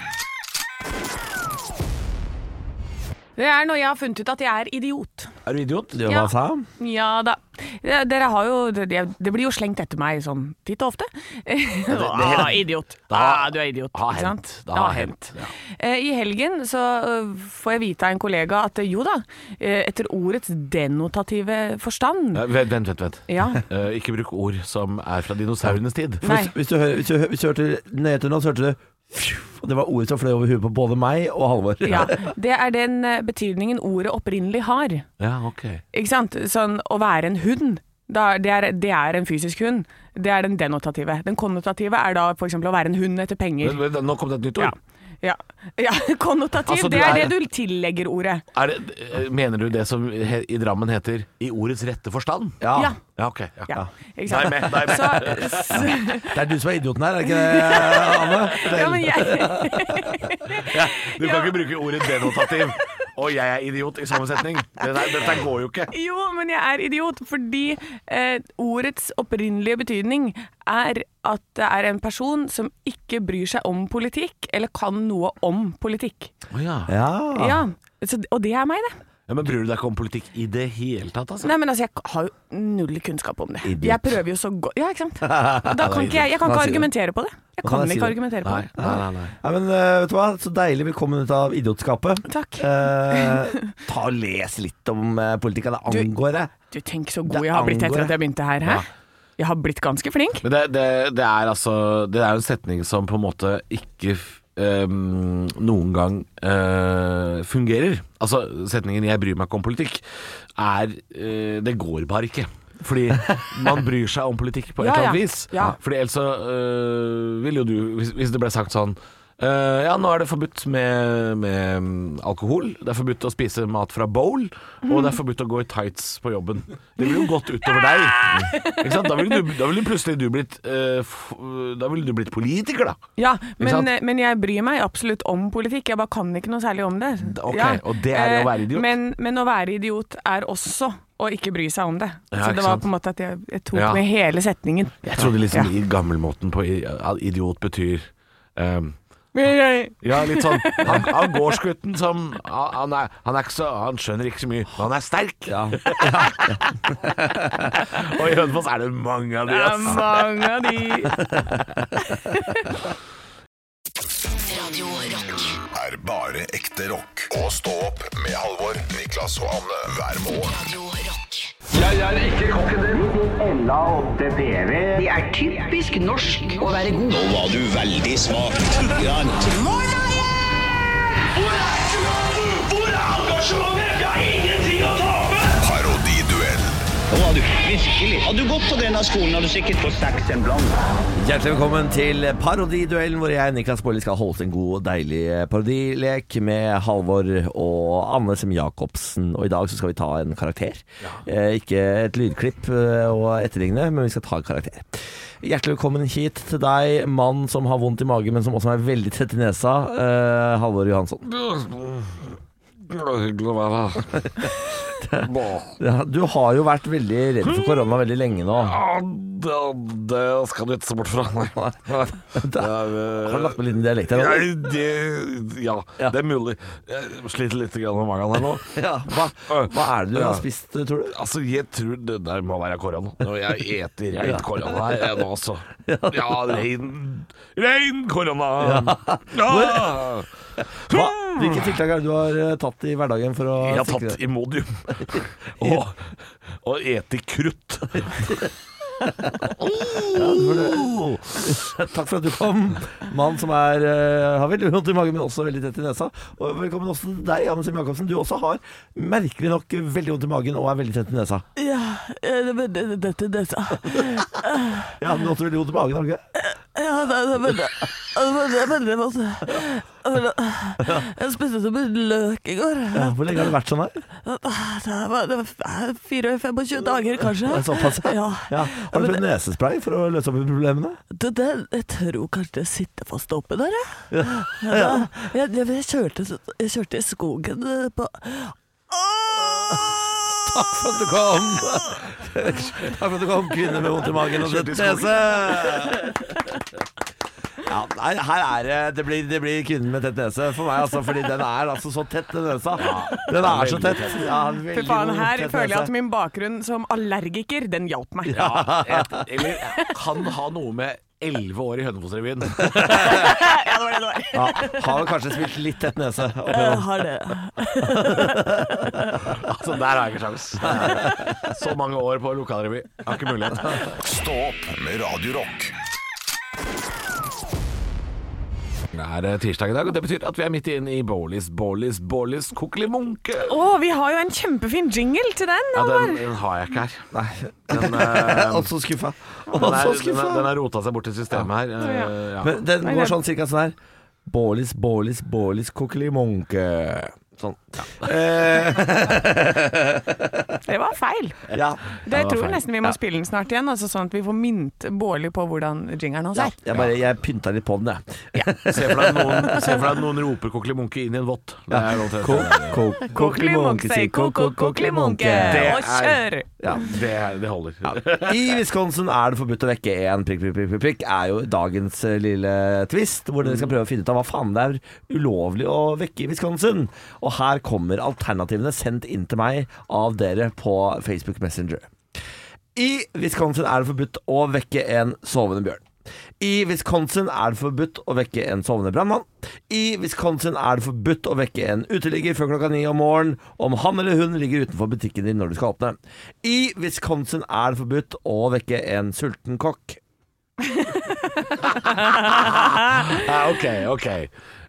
Speaker 3: Det er når jeg har funnet ut at jeg er idiot.
Speaker 5: Er du idiot?
Speaker 3: Ja. Ja da. Ja, Dere har jo Det det blir jo slengt etter meg sånn titt og ofte. ah, idiot.
Speaker 4: har-
Speaker 3: ah, du er idiot.
Speaker 4: har
Speaker 3: ikke
Speaker 4: hendt.
Speaker 3: sant?
Speaker 4: Det har hendt,
Speaker 3: Eh, I helgen så eh, får jeg vite av en kollega at eh, jo da, eh, etter ordets denotative forstand
Speaker 4: Eh, Vent, vent, vent. vent.
Speaker 3: Ja.
Speaker 4: Eh, ikke bruk ord som er fra dinosaurenes tid.
Speaker 3: Nei.
Speaker 5: Hvis, hvis, du hører, hvis, du, hø- hvis du hørte nøye etter nå, så hørte du «fju», og Det var ordet som fløy over huet på både meg og Halvor.
Speaker 3: Ja, det er den eh, betydningen ordet opprinnelig har.
Speaker 4: Ja, ok.
Speaker 3: Ikke sant? Sånn å være en hund. Da, det, er, det er en fysisk hund. Det er den denotative. Den konnotative er da f.eks. å være en hund etter penger.
Speaker 4: Men, men, nå kom det et nytt ord.
Speaker 3: Ja. Ja. ja, konnotativ,
Speaker 4: Altså, du
Speaker 3: det er,
Speaker 4: er-
Speaker 3: det du tillegger ordet.
Speaker 4: Er det, eh, mener du det som he, i Drammen heter 'i ordets rette forstand'?
Speaker 5: Ja.
Speaker 3: Ja.
Speaker 4: Ja, ok. Ja.
Speaker 3: Ja, ikke
Speaker 4: Nei,
Speaker 3: sant?
Speaker 4: men- nei, men.
Speaker 3: Så,
Speaker 5: Det er du som er idioten her, er det ikke det, Anne?
Speaker 3: ja, men jeg,
Speaker 4: Du kan ikke bruke ordet denotativ. Å og jeg er idiot i samme setning. Det der, dette går jo ikke.
Speaker 3: Jo, men jeg er idiot, fordi eh, ordets opprinnelige betydning er at det er en person som ikke bryr seg om politikk, eller kan noe om politikk.
Speaker 4: Å ja.
Speaker 5: Ja.
Speaker 3: Ja, så, og det er meg, det.
Speaker 4: ja, Men bryr du deg ikke om politikk i det hele tatt, altså?
Speaker 3: Nei, men altså, jeg har jo null kunnskap om det.
Speaker 5: Idiot.
Speaker 3: Jeg prøver jo så godt Ja, ikke sant? Og Da kan ikke jeg, jeg kan ikke
Speaker 5: Kan han si det?
Speaker 3: argumentere på det. Jeg
Speaker 5: Kan
Speaker 3: kan
Speaker 5: han si
Speaker 3: ikke
Speaker 5: det?
Speaker 3: argumentere på
Speaker 4: Nei,
Speaker 3: det.
Speaker 4: nei, nei, nei.
Speaker 5: Nei, men eh, vet du hva? Så deilig vi kom ut av idiotskapet.
Speaker 3: Takk.
Speaker 5: Eh, ta og Les litt om eh, politikk. Det
Speaker 3: Du-
Speaker 5: angår deg.
Speaker 3: Du, tenk så god
Speaker 5: Det
Speaker 3: jeg har blitt
Speaker 5: angår
Speaker 3: etter at jeg begynte her, hæ?
Speaker 4: Ja.
Speaker 3: Jeg har blitt ganske flink.
Speaker 4: Men det, det, det er altså Det er jo en setning som på en måte ikke f- ehm, noen gang eh, fungerer. Altså setningen 'jeg bryr meg ikke om politikk' er eh, Det går bare ikke. Fordi man bryr seg om politikk på et
Speaker 3: Ja,
Speaker 4: eller annet
Speaker 3: ja.
Speaker 4: vis.
Speaker 3: Ja.
Speaker 4: Fordi ellers så øh, ville jo du hvis, hvis det ble sagt sånn øh, ja, nå er det forbudt med, med mm, alkohol. Det er forbudt å spise mat fra bowl. Og det er forbudt å gå i tights på jobben. Det ville jo gått utover deg. Ikke sant? Da ville du, da ville plutselig du blitt øh, f, Da ville du blitt politiker, da.
Speaker 3: Ja,
Speaker 4: sant?
Speaker 3: men, eh, men jeg bryr meg absolutt om politikk. Jeg bare kan ikke noe særlig om det.
Speaker 4: ok,
Speaker 3: ja.
Speaker 4: og det er det å
Speaker 3: Eh,
Speaker 4: være idiot?
Speaker 3: Men, men å være idiot er også å ikke bry seg om det.
Speaker 4: Ja,
Speaker 3: Så
Speaker 4: ikke
Speaker 3: det var
Speaker 4: sant?
Speaker 3: på en måte at jeg, jeg tok
Speaker 4: Ja.
Speaker 3: med hele setningen.
Speaker 4: Jeg trodde liksom
Speaker 3: Ja.
Speaker 4: i gammelmåten på i- at idiot betyr ehm,
Speaker 3: Men jeg-
Speaker 4: ja, litt sånn Han, han gårdsgutten som han, han er, han er ikke så Han skjønner ikke så mye, men han er sterk. Og i Hønefoss er det mange av de,
Speaker 3: Det er
Speaker 4: ass.
Speaker 3: mange av de
Speaker 1: Radio Rock.
Speaker 2: er bare ekte rock. Og stå opp med Halvor, Niklas og Anne hver morgen.
Speaker 1: Radio Rock.
Speaker 8: Det er typisk norsk å være god.
Speaker 2: Parodiduell
Speaker 9: Hadde du virkelig Hadde du gått på denne skolen, hadde du sikkert fått seks en blant.
Speaker 5: Hjertelig velkommen til Parodiduellen, hvor jeg, Niklas Baarli, skal holde en god og deilig parodilek med Halvor og Anne Sem Jacobsen. Og i dag så skal vi ta en karakter. Eh, ikke et lydklipp eh, å etterligne, men vi skal ta en karakter. Hjertelig velkommen hit til deg, mann som har vondt i magen, men som også er veldig tett i nesa, eh, Halvor Johansson.
Speaker 4: Hyggelig å være her.
Speaker 5: Ja, Du har jo vært veldig redd for korona veldig lenge nå.
Speaker 4: Ja, Ah, det, det skal du ikke se bort fra. Nei.
Speaker 5: Har du lagt på en liten dialekt her? nå?
Speaker 4: Jeg, det, ja,
Speaker 5: Ja.
Speaker 4: det er mulig. Jeg sliter litt grann med magen her nå.
Speaker 5: Ja, hva, hva er det du har spist, tror du?
Speaker 4: Altså, jeg tror det der må være korona. Når jeg eter
Speaker 5: Ja.
Speaker 4: rein korona her jeg nå, altså. Ja, rein Rein korona! Ja.
Speaker 5: Hva, hvilke tiltak er det du har eh, tatt i hverdagen for å
Speaker 4: Jeg har
Speaker 5: sikre
Speaker 4: tatt Imodium og, og eti krutt. Oh!
Speaker 5: Takk for at du kom, mann som er, eh, har veldig vondt i magen, men også veldig tett i nesa. Og velkommen også til deg, Anne Sem Jacobsen. Du også har merkelig nok veldig vondt i magen og er veldig tett i nesa.
Speaker 3: Ja, eh, det var det- dette, dette.
Speaker 5: Ja, men også veldig vondt i magen, har du ikke?
Speaker 3: Ja, det er veldig Veldig godt. Jeg spiste så mye løk i går.
Speaker 5: Ja, hvor lenge har det vært sånn her?
Speaker 3: Det var 24-25 dager, kanskje.
Speaker 5: Det er såpass.
Speaker 3: Ja.
Speaker 5: Ja. Har du prøvd nesespray for å løse opp i problemene?
Speaker 3: Det, det, jeg tror kanskje det sitter fast oppe der, jeg. Ja, jeg, jeg, jeg, kjørte, jeg kjørte i skogen eh, på
Speaker 5: Takk for at du kom! Takk for at du kom, kvinne med vondt i magen og tett nese! Ja, nei, her er det Det blir, det blir kvinnen med tett nese for meg, altså. Fordi den er altså så tett, den nesa. Den er så tett. Ja,
Speaker 3: Fy
Speaker 5: veldig
Speaker 3: faen,
Speaker 5: god
Speaker 3: her
Speaker 5: tett
Speaker 3: føler jeg at
Speaker 5: nese.
Speaker 3: min bakgrunn som allergiker, den hjalp meg.
Speaker 4: Ja, et, eller kan ha noe med elleve år i Hønefoss-revyen.
Speaker 3: det var det det var.
Speaker 5: ja, Har vel kanskje spilt litt tett nese. oppi
Speaker 3: Jeg
Speaker 5: nå.
Speaker 3: har det.
Speaker 4: Altså, der har jeg ikke sjans. Så mange år på lokalrevy. Har ikke mulighet.
Speaker 2: Stå opp med Radio Rock
Speaker 4: Det er eh, tirsdag i dag, og det betyr at vi er midt inne i Bålis, Bålis, Bålis kokkelimunke.
Speaker 3: Å, vi har jo en kjempefin jingle til den.
Speaker 4: Ja,
Speaker 3: Halvor.
Speaker 4: den, den har jeg ikke her.
Speaker 5: Nei,
Speaker 4: Den, eh,
Speaker 5: Og så skuffa. Og
Speaker 4: den,
Speaker 5: så
Speaker 4: er, den, er, den
Speaker 5: skuffa.
Speaker 4: har rota seg bort til systemet her. Eh, ja.
Speaker 5: Men den går sånn cirka sånn her. Bålis, bålis, bålis, kokkelimonke. Sånn.
Speaker 3: Det var feil.
Speaker 5: Ja.
Speaker 3: Det jeg
Speaker 4: var
Speaker 3: tror
Speaker 4: feil.
Speaker 3: nesten vi må spille den snart igjen, altså sånn at vi får mint Bårli på hvordan jingeren hans
Speaker 5: ja.
Speaker 3: er.
Speaker 5: Jeg, bare, jeg pynta litt på den, jeg.
Speaker 4: Se for deg at noen, se for deg at noen roper 'kokkelimonke' inn i en vott. Det er omtrent det.
Speaker 3: Kokkelimonke, sier ko-ko, kokkelimonke, og kjør!
Speaker 5: Ja.
Speaker 4: Det, det holder.
Speaker 5: I Wisconsin er det forbudt å vekke én prikk, prikk, prikk, prikk, prikk, er jo dagens eh, lille twist, hvor dere skal prøve å finne ut av hva faen det er ulovlig å vekke i Wisconsin. Og her kommer alternativene sendt inn til meg av dere på Facebook Messenger. I Wisconsin er det forbudt å vekke en sovende bjørn. I Wisconsin er det forbudt å vekke en sovende brannmann. I Wisconsin er det forbudt å vekke en uteligger før klokka ni om morgenen om han eller hun ligger utenfor butikken din når du skal åpne. I Wisconsin er det forbudt å vekke en sulten kokk.
Speaker 4: Ja, ok, ok.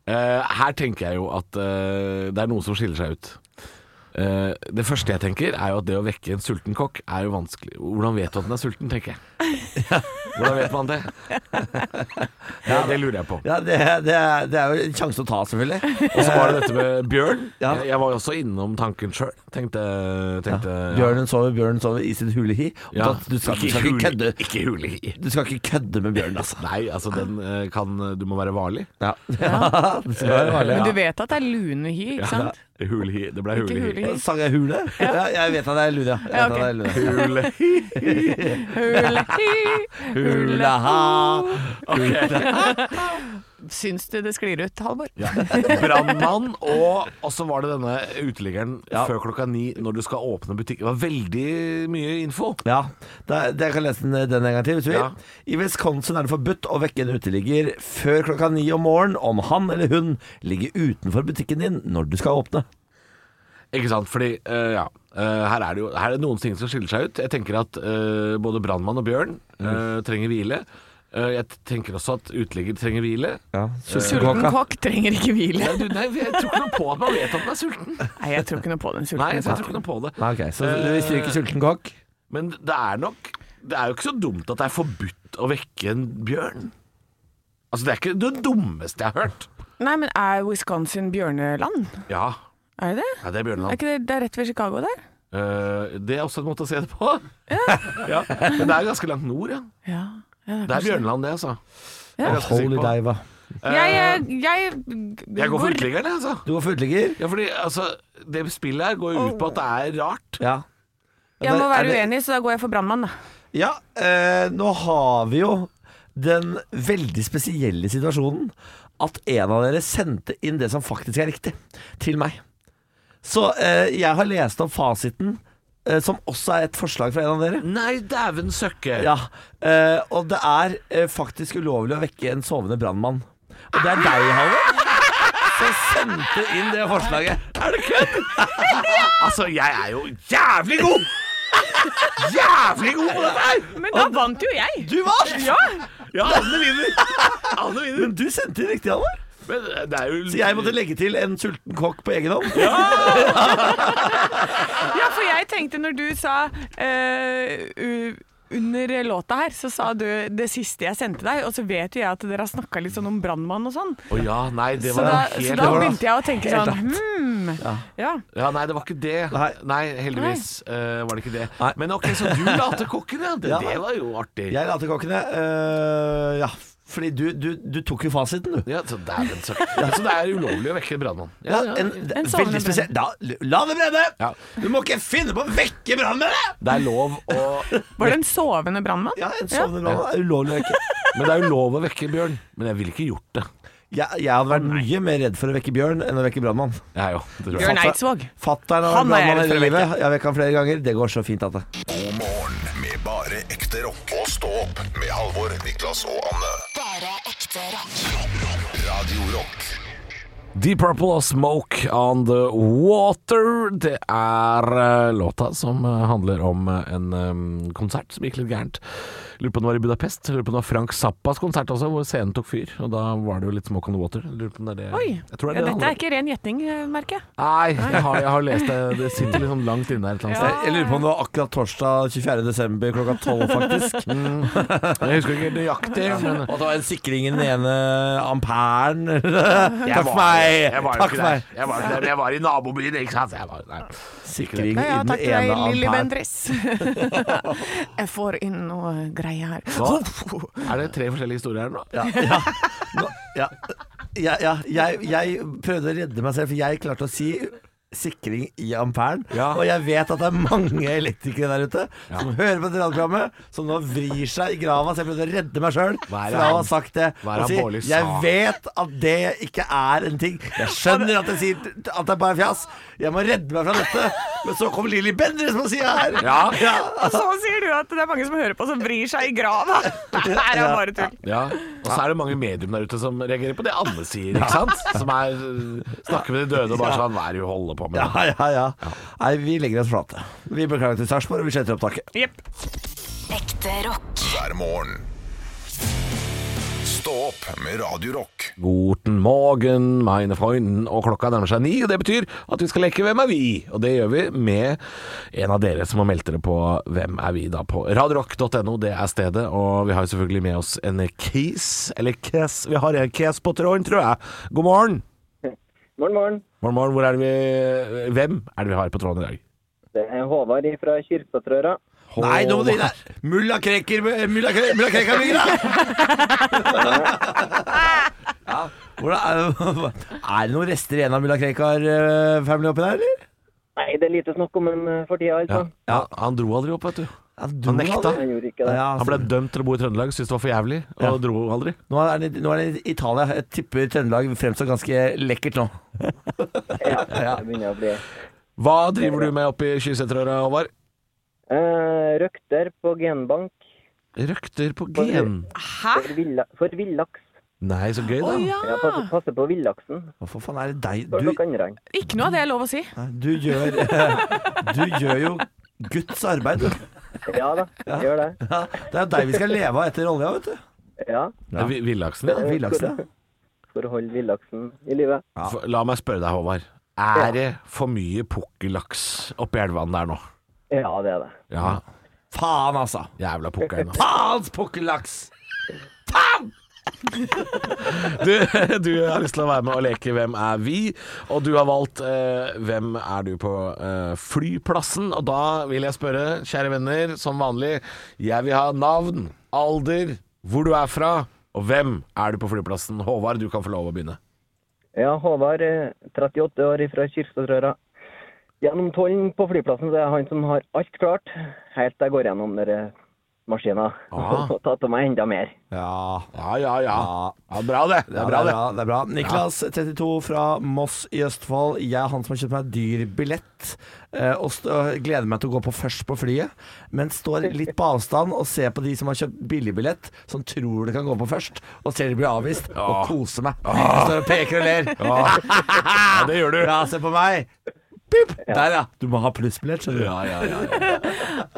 Speaker 4: Eh, her tenker jeg jo at eh, det er noe som skiller seg ut. Eh, det første jeg tenker, er jo at det å vekke en sulten kokk er jo vanskelig. Hvordan vet du at den er sulten, tenker jeg. Hvordan vet man det? Det, det lurer jeg på.
Speaker 5: Ja, det, det, er- det er jo en sjanse å ta, selvfølgelig.
Speaker 4: Og så var det dette med bjørn.
Speaker 5: Ja.
Speaker 4: Jeg, jeg var jo også innom tanken sjøl. Tenkte, tenkte
Speaker 5: Bjørnen sover, bjørnen sover i sitt hulehi. Og
Speaker 4: Ja.
Speaker 5: da- Du, skal, du,
Speaker 4: Ikke
Speaker 5: skal ikke
Speaker 4: hul-
Speaker 5: kødde,
Speaker 4: Ikke hule i.
Speaker 5: du skal ikke kødde med bjørnen, altså.
Speaker 4: Nei, altså den eh, kan Du må være varlig.
Speaker 5: Ja, ja. det skal være farlig.
Speaker 3: Men du vet at det er lunehy, ikke sant?
Speaker 4: Hulehi. Det ble
Speaker 3: Ikke
Speaker 4: hulehi.
Speaker 3: hulehy.
Speaker 5: Eh, Sang jeg hule? Ja, jeg vet at det er lune, ja. Jeg
Speaker 3: Ja,
Speaker 5: vet
Speaker 3: ok.
Speaker 5: at det er lune.
Speaker 4: Hulehi.
Speaker 3: Hulehy,
Speaker 5: Hula ha.
Speaker 3: Syns du det sklir ut, Halvor?
Speaker 4: Ja. Brannmann, og, og så var det denne uteliggeren før klokka ni når du skal åpne butikk. Det var veldig mye info.
Speaker 5: Ja, da, jeg kan lese den, eh, den en gang til. Hvis du vil.
Speaker 4: Ja.
Speaker 5: I Wisconsin er det forbudt å vekke en uteligger før klokka ni om morgenen om han eller hun ligger utenfor butikken din når du skal åpne.
Speaker 4: Ikke sant? Fordi, eh, ja eh, her, er det jo, her er det noen ting som skiller seg ut. Jeg tenker at eh, både brannmann og bjørn eh, trenger hvile. Eh, jeg tenker også at uteligger trenger hvile.
Speaker 5: Ja,
Speaker 3: Sulten kokk trenger ikke hvile.
Speaker 4: Nei, du, nei, jeg tror ikke noe på at man vet at man er sulten.
Speaker 3: Nei, jeg tror ikke noe på den
Speaker 4: Nei, jeg
Speaker 3: sulten
Speaker 4: tror ikke noe på det.
Speaker 5: Nei, Ah, ok, Så vi stryker sulten kokk?
Speaker 4: Men det er nok Det er jo ikke så dumt at det er forbudt å vekke en bjørn. Altså, det er ikke det dummeste jeg har hørt.
Speaker 3: Nei, men er Wisconsin bjørneland?
Speaker 4: Ja,
Speaker 3: Er det det?
Speaker 4: ja det er bjørneland.
Speaker 3: Er ikke det, det er rett ved Chicago der?
Speaker 4: Eh, det er også en måte å se det på. Ja. Men det er ganske langt nord, ja.
Speaker 3: Ja. ja
Speaker 4: Det er Bjørnland, det, altså.
Speaker 3: Ja.
Speaker 4: Jeg, er ganske
Speaker 5: Holy
Speaker 4: sikker på.
Speaker 5: diva.
Speaker 3: Jeg, jeg, jeg,
Speaker 4: Eh, jeg går for
Speaker 3: går-
Speaker 4: uteliggeren, jeg, altså.
Speaker 5: Du var foruteligger?
Speaker 4: Ja, fordi altså, det spillet her går jo ut på at det er rart.
Speaker 5: Ja.
Speaker 3: Jeg må
Speaker 5: Er
Speaker 3: være
Speaker 5: det-
Speaker 3: uenig, så da går jeg for brannmann, da.
Speaker 5: Ja, eh, nå har vi jo den veldig spesielle situasjonen at en av dere sendte inn det som faktisk er riktig, til meg. Så eh, jeg har lest opp fasiten, eh, som også er et forslag fra en av dere.
Speaker 4: Nei, dæven søkke.
Speaker 5: Ja, eh, og det er eh, faktisk ulovlig å vekke en sovende brannmann. Og det er deg, Halvor, som sendte inn det forslaget.
Speaker 4: Er det kødd? altså, jeg er jo jævlig god! Jævlig god på dette her!
Speaker 3: Men da vant jo jeg!
Speaker 5: Du vant!
Speaker 3: Ja!
Speaker 4: Ja, alle vinner. Alle vinner.
Speaker 5: Men du sendte inn riktig, Halvor.
Speaker 4: Men eh, det er jo
Speaker 5: Så jeg måtte legge til en sulten kokk på egen hånd.
Speaker 3: Ja, for jeg tenkte når du sa eh, u- under låta her, så sa du det siste jeg sendte deg, og så vet jo jeg at dere har snakka litt sånn om brannmann og sånn.
Speaker 4: Å ja, nei, det
Speaker 3: Så
Speaker 4: var
Speaker 3: da,
Speaker 4: helt
Speaker 3: så da
Speaker 5: det var
Speaker 3: begynte jeg å tenke
Speaker 5: helt
Speaker 3: sånn hmm, ja.
Speaker 4: Ja, nei, det var ikke det. Nei,
Speaker 5: Nei.
Speaker 4: heldigvis eh, var det ikke det.
Speaker 5: Nei.
Speaker 4: Men ok, så du la til kokken, ja. Det,
Speaker 5: Ja.
Speaker 4: det var jo artig. Ja,
Speaker 5: Jeg la til kokkene. øh, ja, fordi du, du, du tok jo fasiten, du.
Speaker 4: så dæven søren. Så det er ulovlig å vekke en brannmann. Ja, ja.
Speaker 5: en, det er
Speaker 3: En sovende
Speaker 5: veldig spesiell da, La det brenne!
Speaker 4: Ja.
Speaker 5: Du må ikke finne på å vekke brannmennene!
Speaker 4: Det er lov å
Speaker 3: Var det en sovende brannmann?
Speaker 5: Ja, en sovende brann er ulovlig å vekke.
Speaker 4: Men det er jo lov å vekke bjørn. Men jeg ville ikke gjort det.
Speaker 5: Jeg, jeg hadde vært mye mer redd for å vekke bjørn enn å vekke brannmann.
Speaker 4: Jeg òg, tror jeg.
Speaker 3: Bjørn Eidsvåg.
Speaker 5: Fatter'n har vært
Speaker 3: Han er jeg
Speaker 5: brannmann
Speaker 3: redd for
Speaker 5: hele
Speaker 3: å
Speaker 5: livet. Jeg har vekket han flere ganger. Det går så fint at det
Speaker 2: God morgen med bare ekte rock. Og stå opp med Halvor, Niklas og Anne.
Speaker 1: Bare ekte rock.
Speaker 2: Radio Rock
Speaker 4: Deep Purple og Smoke on the Water. Det er eh, låta som eh, handler om eh, en eh, konsert som gikk litt gærent. Lurer på om det var i Budapest. Lurer på om det var Frank Zappas konsert også, hvor scenen tok fyr. Og da var det jo litt smoke on the water. Lurer på om det er det
Speaker 3: Oi.
Speaker 4: Jeg tror
Speaker 3: ja,
Speaker 4: det er det
Speaker 3: dette
Speaker 4: handler
Speaker 3: er ikke ren gjetning, eh, merker jeg.
Speaker 4: Nei, jeg har, jeg har lest det. Det sitter liksom langt inne her et eller annet
Speaker 5: Jeg lurer på om det var akkurat torsdag 24. desember klokka 12 faktisk.
Speaker 4: sted. Jeg husker ikke nøyaktig, men
Speaker 5: Og det var en sikring i den ene amperen.
Speaker 4: Jeg
Speaker 5: Takk
Speaker 4: var-
Speaker 5: for meg!
Speaker 4: Jeg var jo
Speaker 5: Takk
Speaker 4: ikke
Speaker 5: for meg.
Speaker 4: der. Jeg var, ikke der, men jeg var i nabobyen, ikke sant. Jeg var, nei.
Speaker 3: Ja,
Speaker 5: Sikring i
Speaker 3: ja,
Speaker 5: den
Speaker 3: takk til deg,
Speaker 5: ene
Speaker 3: Lilly
Speaker 5: amperen.
Speaker 3: Bendriss. jeg får inn noe greier her.
Speaker 4: Hva? Er det tre forskjellige historier her nå?
Speaker 5: Ja, ja. Nå- ja. Ja, ja. Jeg, jeg prøvde å redde meg selv, for jeg klarte å si sikring i amperen.
Speaker 4: Ja.
Speaker 5: Og jeg vet at det er mange elektrikere der ute som hører på dette radioprogrammet, som nå vrir seg i grava, så jeg prøvde å redde meg sjøl
Speaker 4: Hva er det
Speaker 5: fra å
Speaker 4: han-
Speaker 5: ha sagt det.
Speaker 4: hva er det
Speaker 5: Og
Speaker 4: han Bårdli sa?
Speaker 5: jeg vet at det ikke er en ting. Jeg skjønner at, jeg sier, at det er bare fjas. Jeg må redde meg fra dette. Men så kommer Lilly Bendriss på sida her.
Speaker 4: Ja.
Speaker 5: Ja. altså,
Speaker 3: Og så sier du at det er mange som hører på som vrir seg i grava. Det her er bare tull.
Speaker 4: Ja. Og så er det mange medium der ute som reagerer på det Anne sier, ikke sant? Som er, øh, snakker med de døde og bare sånn Hva er det du holder på med?
Speaker 5: Ja, ja, ja. Nei, vi legger oss flate. Vi beklager til Sarpsborg, og vi sletter opptaket.
Speaker 3: Jepp.
Speaker 1: Ekte rock.
Speaker 2: hver morgen. Stå opp med Radio Rock.
Speaker 4: Guten morgen, meine Freunden. Og klokka nærmer seg ni, og det betyr at vi skal leke Hvem er vi? Og det gjør vi med en av dere som har meldt dere på Hvem er vi da på radiorock.no. Det er stedet, og vi har jo selvfølgelig med oss en kis, eller kes. Vi har en kes på tråden, tror jeg. God morgen.
Speaker 10: Morgen, morgen.
Speaker 4: Morgen, morgen. Hvor er det vi Hvem er det vi har på tråden i dag?
Speaker 10: Det er Håvard fra Kyrksatrøra.
Speaker 5: Nei, nå må du gi deg. Mulla Krekar Mulla Kre- Mulla Krekar ligger der! Hvordan er, er det noen rester igjen av mulla Krekar-familien oppi der, eller?
Speaker 10: Nei, det er lite snakk om en for tida,
Speaker 4: Ja.
Speaker 10: altså.
Speaker 4: ja, han dro aldri opp, vet du.
Speaker 5: du
Speaker 4: Han nekta.
Speaker 5: hadde-
Speaker 10: Han gjorde ikke det.
Speaker 5: Ja,
Speaker 4: Han ble dømt til å bo i Trøndelag, syntes det var for jævlig, og
Speaker 5: Ja.
Speaker 4: dro aldri.
Speaker 5: nå, er det, nå er det Italia. Jeg tipper Trøndelag fremstår ganske lekkert nå.
Speaker 10: Ja, det begynner å bli.
Speaker 4: Hva driver du med oppe i Kyssetrøra, Håvard?
Speaker 10: Eh, røkter på genbank
Speaker 4: Røkter på gen.
Speaker 3: Hæ?
Speaker 10: for, villa, for villaks.
Speaker 4: Nei, så gøy,
Speaker 3: Å
Speaker 4: da.
Speaker 10: Ja,
Speaker 3: ja.
Speaker 10: passer, passer på villaksen.
Speaker 5: Hvorfor faen er det deg?
Speaker 10: For
Speaker 5: Du,
Speaker 10: noen andre.
Speaker 3: Ikke noe av det er lov å si.
Speaker 5: du, gjør, du gjør jo Guds arbeid, du.
Speaker 10: Ja da, gjør det.
Speaker 5: Ja, det er jo deg vi skal leve av etter olja, vet du.
Speaker 10: Ja,
Speaker 4: Ja. Vi- Villaksen, ja.
Speaker 5: Villaksen, ja.
Speaker 10: for å holde villaksen i live.
Speaker 4: For- La meg spørre deg, Håvard. Er det for mye pukkellaks oppi elvene der nå?
Speaker 10: Ja, det er det.
Speaker 4: Ja,
Speaker 5: Faen, altså.
Speaker 4: jævla pukkelen. altså.
Speaker 5: Faens pukkellaks!
Speaker 4: Du, du har lyst til å være med og leke Hvem er vi? Og du har valgt eh, Hvem er du på eh, flyplassen? Og da vil jeg spørre, kjære venner, som vanlig, jeg vil ha navn, alder, hvor du er fra, og hvem er du på flyplassen? Håvard, du kan få lov å begynne.
Speaker 10: Ja, Håvard, eh, 38 år fra Kyrksatrøra. Gjennom tollen på flyplassen så er det han som har alt klart, helt til jeg går gjennom den maskina
Speaker 4: Ah.
Speaker 10: og tar til meg enda mer.
Speaker 5: Ja.
Speaker 4: Ja, ja, ja. ja bra det. Det er bra, det.
Speaker 5: det er bra. Niklas, 32, fra Moss i Østfold. Jeg er han som har kjøpt meg dyr billett, eh, og st- og gleder meg til å gå på først på flyet, men står litt på avstand og ser på de som har kjøpt billigbillett, som tror det kan gå på først, og ser de blir avvist, og
Speaker 4: Åh.
Speaker 5: koser meg. Jeg står og peker og ler.
Speaker 4: Ja, det gjør du.
Speaker 5: Ja, se på meg. Pip. Der, ja. Du må ha plussbillett, skjønner du.
Speaker 4: Ja, ja, ja.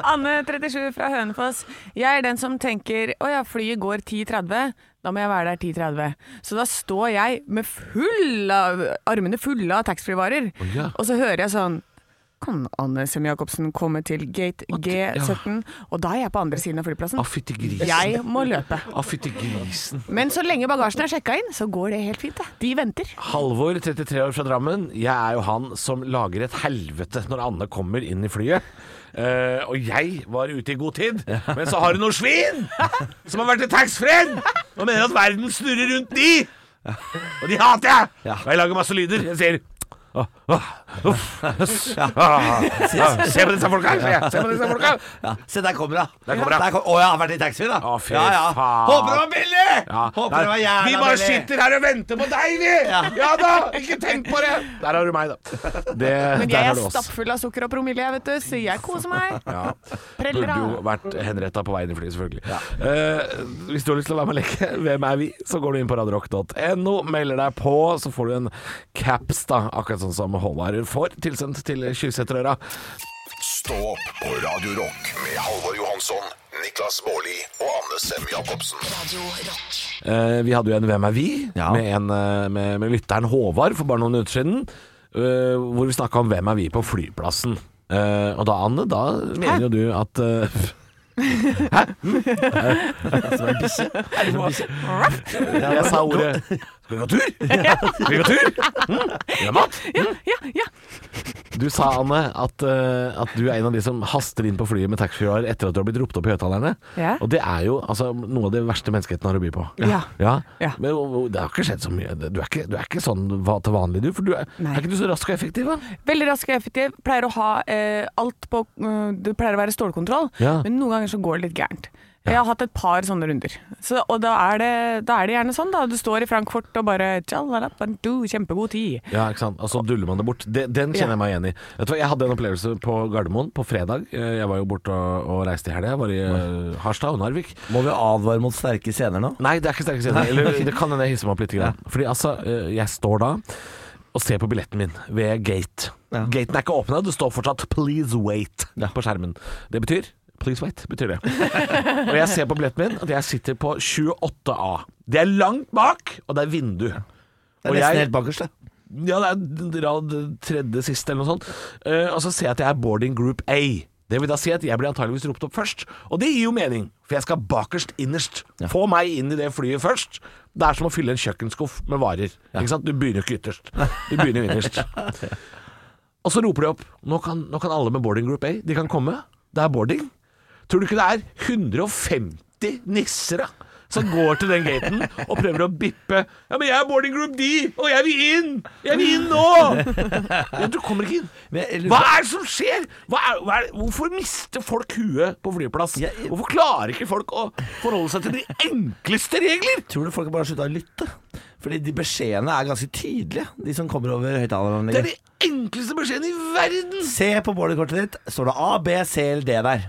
Speaker 3: Anne 37 fra Hønefoss. Jeg er den som tenker å ja, flyet går 10.30. Da må jeg være der 10.30. Så da står jeg med full av, armene fulle av taxfree-varer,
Speaker 4: Å, ja.
Speaker 3: og så hører jeg sånn Kan Anne Sem-Jacobsen komme til gate G17? Og da er jeg på andre siden av flyplassen.
Speaker 4: Å, fytti grisen.
Speaker 3: Jeg må løpe.
Speaker 4: Å, fytti grisen.
Speaker 3: Men så lenge bagasjen er sjekka inn, så går det helt fint. Det. De venter.
Speaker 4: Halvor, 33 år fra Drammen. Jeg er jo han som lager et helvete når Anne kommer inn i flyet. Eh, og jeg var ute i god tid, men så har du noen svin som har vært i taxfree-en og mener at verden snurrer rundt de! Og de hater jeg! Og jeg lager masse lyder. Jeg sier «Åh, åh, uff, jøss, ah, ah, Se på disse folka! sier jeg. Se på disse folka!
Speaker 5: Ja. Se, der kommer hun.
Speaker 4: Der kommer hun.
Speaker 5: Der kom- Å, jeg har vært i taxi, da.
Speaker 4: Å, fy
Speaker 5: ja, ja.
Speaker 4: faen.
Speaker 5: Håper det var billig!
Speaker 4: Ja.
Speaker 5: Håper det var jævla
Speaker 4: vi
Speaker 5: billig.
Speaker 4: bare sitter her og venter på deg, vi! Ja. da! Ikke tenk på det! Der har du meg, da. Det,
Speaker 3: Men
Speaker 4: der
Speaker 3: jeg
Speaker 4: har
Speaker 3: er
Speaker 4: du oss.
Speaker 3: stappfull av sukker og promille, jeg, vet du, så jeg koser meg.
Speaker 4: Ja.
Speaker 3: Preller
Speaker 4: Burde jo
Speaker 3: av.
Speaker 4: vært henretta på veien i flyet, selvfølgelig. Eh, hvis du har lyst til å være med og leke Hvem er vi?, så går du inn på radiorock.no, melder deg på, så får du en caps, da, akkurat sånn som Håvard får tilsendt til Kyrksæterøra.
Speaker 2: Stå opp på Radio Rock med Halvor Johansson, Niklas Baarli og Anne Sem Jacobsen.
Speaker 1: Radio Rock.
Speaker 4: Eh, vi hadde jo en Hvem er vi?
Speaker 5: Ja.
Speaker 4: Med, en, eh, med, med lytteren Håvard for bare noen minutter siden. eh, hvor vi snakka om Hvem er vi på flyplassen. Eh, og da, Anne, da mener jo du at eh, Hæ? Jeg sa ordet Skal vi gå tur? Skal vi gå tur? Mm? Vil du ha mat?
Speaker 3: Ja, ja.
Speaker 4: Du sa, Anne, at, eh, at du er en av de som haster inn på flyet med taxfree-er etter at du har blitt ropt opp i høyttalerne.
Speaker 3: Ja.
Speaker 4: Og det er jo altså, noe av det verste menneskeheten har å by på.
Speaker 3: Ja. Ja.
Speaker 4: Men og- og det har ikke skjedd så mye. Du er ikke, du er ikke sånn va- til vanlig, du. For du er,
Speaker 3: Nei.
Speaker 4: er ikke du så rask og effektiv, da?
Speaker 3: Veldig rask og effektiv. Pleier å ha eh, alt på eh, Det pleier å være stålkontroll,
Speaker 4: Ja.
Speaker 3: men noen ganger så går det litt gærent. Jeg har hatt et par sånne runder. Så, og da er, det, da er det gjerne sånn, da. Du står i Frankfurt og bare tjallalappandu, Kjempegod tid.
Speaker 4: Ja, ikke sant? Og så duller man det bort. Det, den
Speaker 3: Ja.
Speaker 4: kjenner jeg meg igjen i. Vet du hva, Jeg hadde en opplevelse på Gardermoen på fredag. Eh, Jeg var jo borte og, og reiste i helga. Jeg var i eh, Harstad og Narvik.
Speaker 5: Må vi advare mot sterke scener nå?
Speaker 4: Nei, det er ikke sterke scener. Eller det kan hende jeg hisser meg opp litt. Grann. Fordi altså, eh, jeg står da og ser på billetten min ved gate.
Speaker 5: Ja.
Speaker 4: Gaten er ikke åpna, det står fortsatt 'please wait' på skjermen. Det betyr Please wait, betyr det. og jeg ser på billetten min at jeg sitter på 28A. Det er langt bak, og det er vindu.
Speaker 5: Det er
Speaker 4: Og
Speaker 5: nesten
Speaker 4: jeg-
Speaker 5: helt bakerst, det.
Speaker 4: Ja, det er rad tredje siste eller noe sånt. Eh, og så ser jeg at jeg er boarding group A. Det vil da si at jeg blir antageligvis ropt opp først. Og det gir jo mening, for jeg skal bakerst innerst. Få meg inn i det flyet først. Det er som å fylle en kjøkkenskuff med varer. Ikke sant? Du begynner jo ikke ytterst. Du begynner jo innerst. Og så roper de opp. Nå kan, nå kan alle med boarding group A, de kan komme. Det er boarding. Tror du ikke det er 150 nisser da, som går til den gaten og prøver å bippe? Ja, men jeg er boarding group D, og jeg vil inn! Jeg vil inn nå! Ja, du kommer ikke inn.
Speaker 5: Men jeg lurer
Speaker 4: Hva er det som skjer? Hva er, hva er, hvorfor mister folk huet på flyplass?
Speaker 5: Jeg-
Speaker 4: Hvorfor klarer ikke folk å forholde seg til de enkleste regler?
Speaker 5: Tror du folk bare har slutta å lytte? Fordi de beskjedene er ganske tydelige, de som kommer over
Speaker 4: Det er
Speaker 5: høyttaleranlegget.
Speaker 4: de enkleste beskjedene i verden!
Speaker 5: Se på boardingkortet ditt, står det A, B, C eller D der.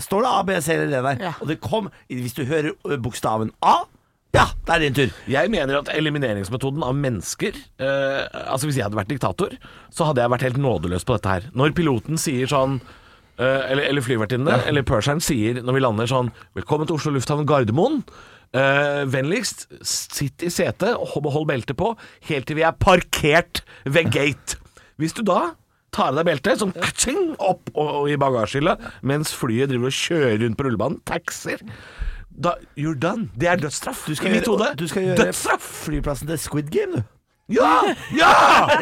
Speaker 5: Står det A, B, C eller D der?
Speaker 3: Ja.
Speaker 5: Og det kom Hvis du hører ø, bokstaven A, ja, det er din tur.
Speaker 4: Jeg mener at elimineringsmetoden av mennesker eh, Altså Hvis jeg hadde vært diktator, så hadde jeg vært helt nådeløs på dette her. Når piloten sier sånn eh, Eller, eller flyvertinnene, eller purseren sier når vi lander sånn Velkommen til Oslo lufthavn Gardermoen. Eh, vennligst, sitt i setet og hold- hold beltet på helt til vi er parkert ved gate. Hvis du da tar av deg beltet, sånn kaching, opp og, og i bagasjehylla, mens flyet driver og kjører rundt på rullebanen, taxier da, You're done. Det er dødsstraff. Du
Speaker 5: skal
Speaker 4: I mitt
Speaker 5: gjøre-
Speaker 4: hode.
Speaker 5: du skal gjøre-
Speaker 4: Dødsstraff!
Speaker 5: Flyplassen til Squid Game, du.
Speaker 4: Ja! Ja!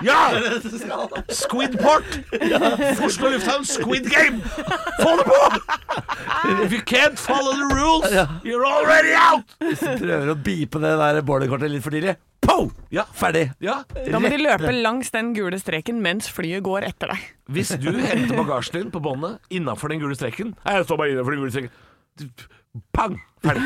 Speaker 4: ja! Squidport! Oslo lufthavn, Squid Game! Få det på! If you can't follow the rules, you're already out!
Speaker 5: Prøver å bipe det der boardingkortet litt for tidlig. Po!
Speaker 4: Ja.
Speaker 5: Ferdig.
Speaker 4: Ja,
Speaker 3: Da må de løpe langs den gule streken mens flyet går etter deg.
Speaker 4: Hvis du henter bagasjen din på båndet innafor den gule streken Nei, jeg står bare innenfor den gule streken. Du- Pang! Ferdig.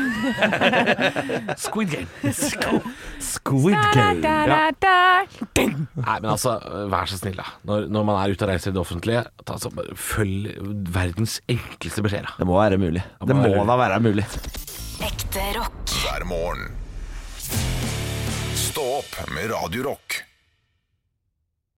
Speaker 4: Squid Game.
Speaker 5: Squid Game.
Speaker 4: Nei, men altså, vær så snill, da. Når, når man er ute og reiser i det offentlige, ta, så, bare følg verdens enkleste beskjeder.
Speaker 5: Det må være mulig. Det må da være mulig.
Speaker 1: Ekte rock.
Speaker 2: hver morgen. Stå opp med Radio Rock.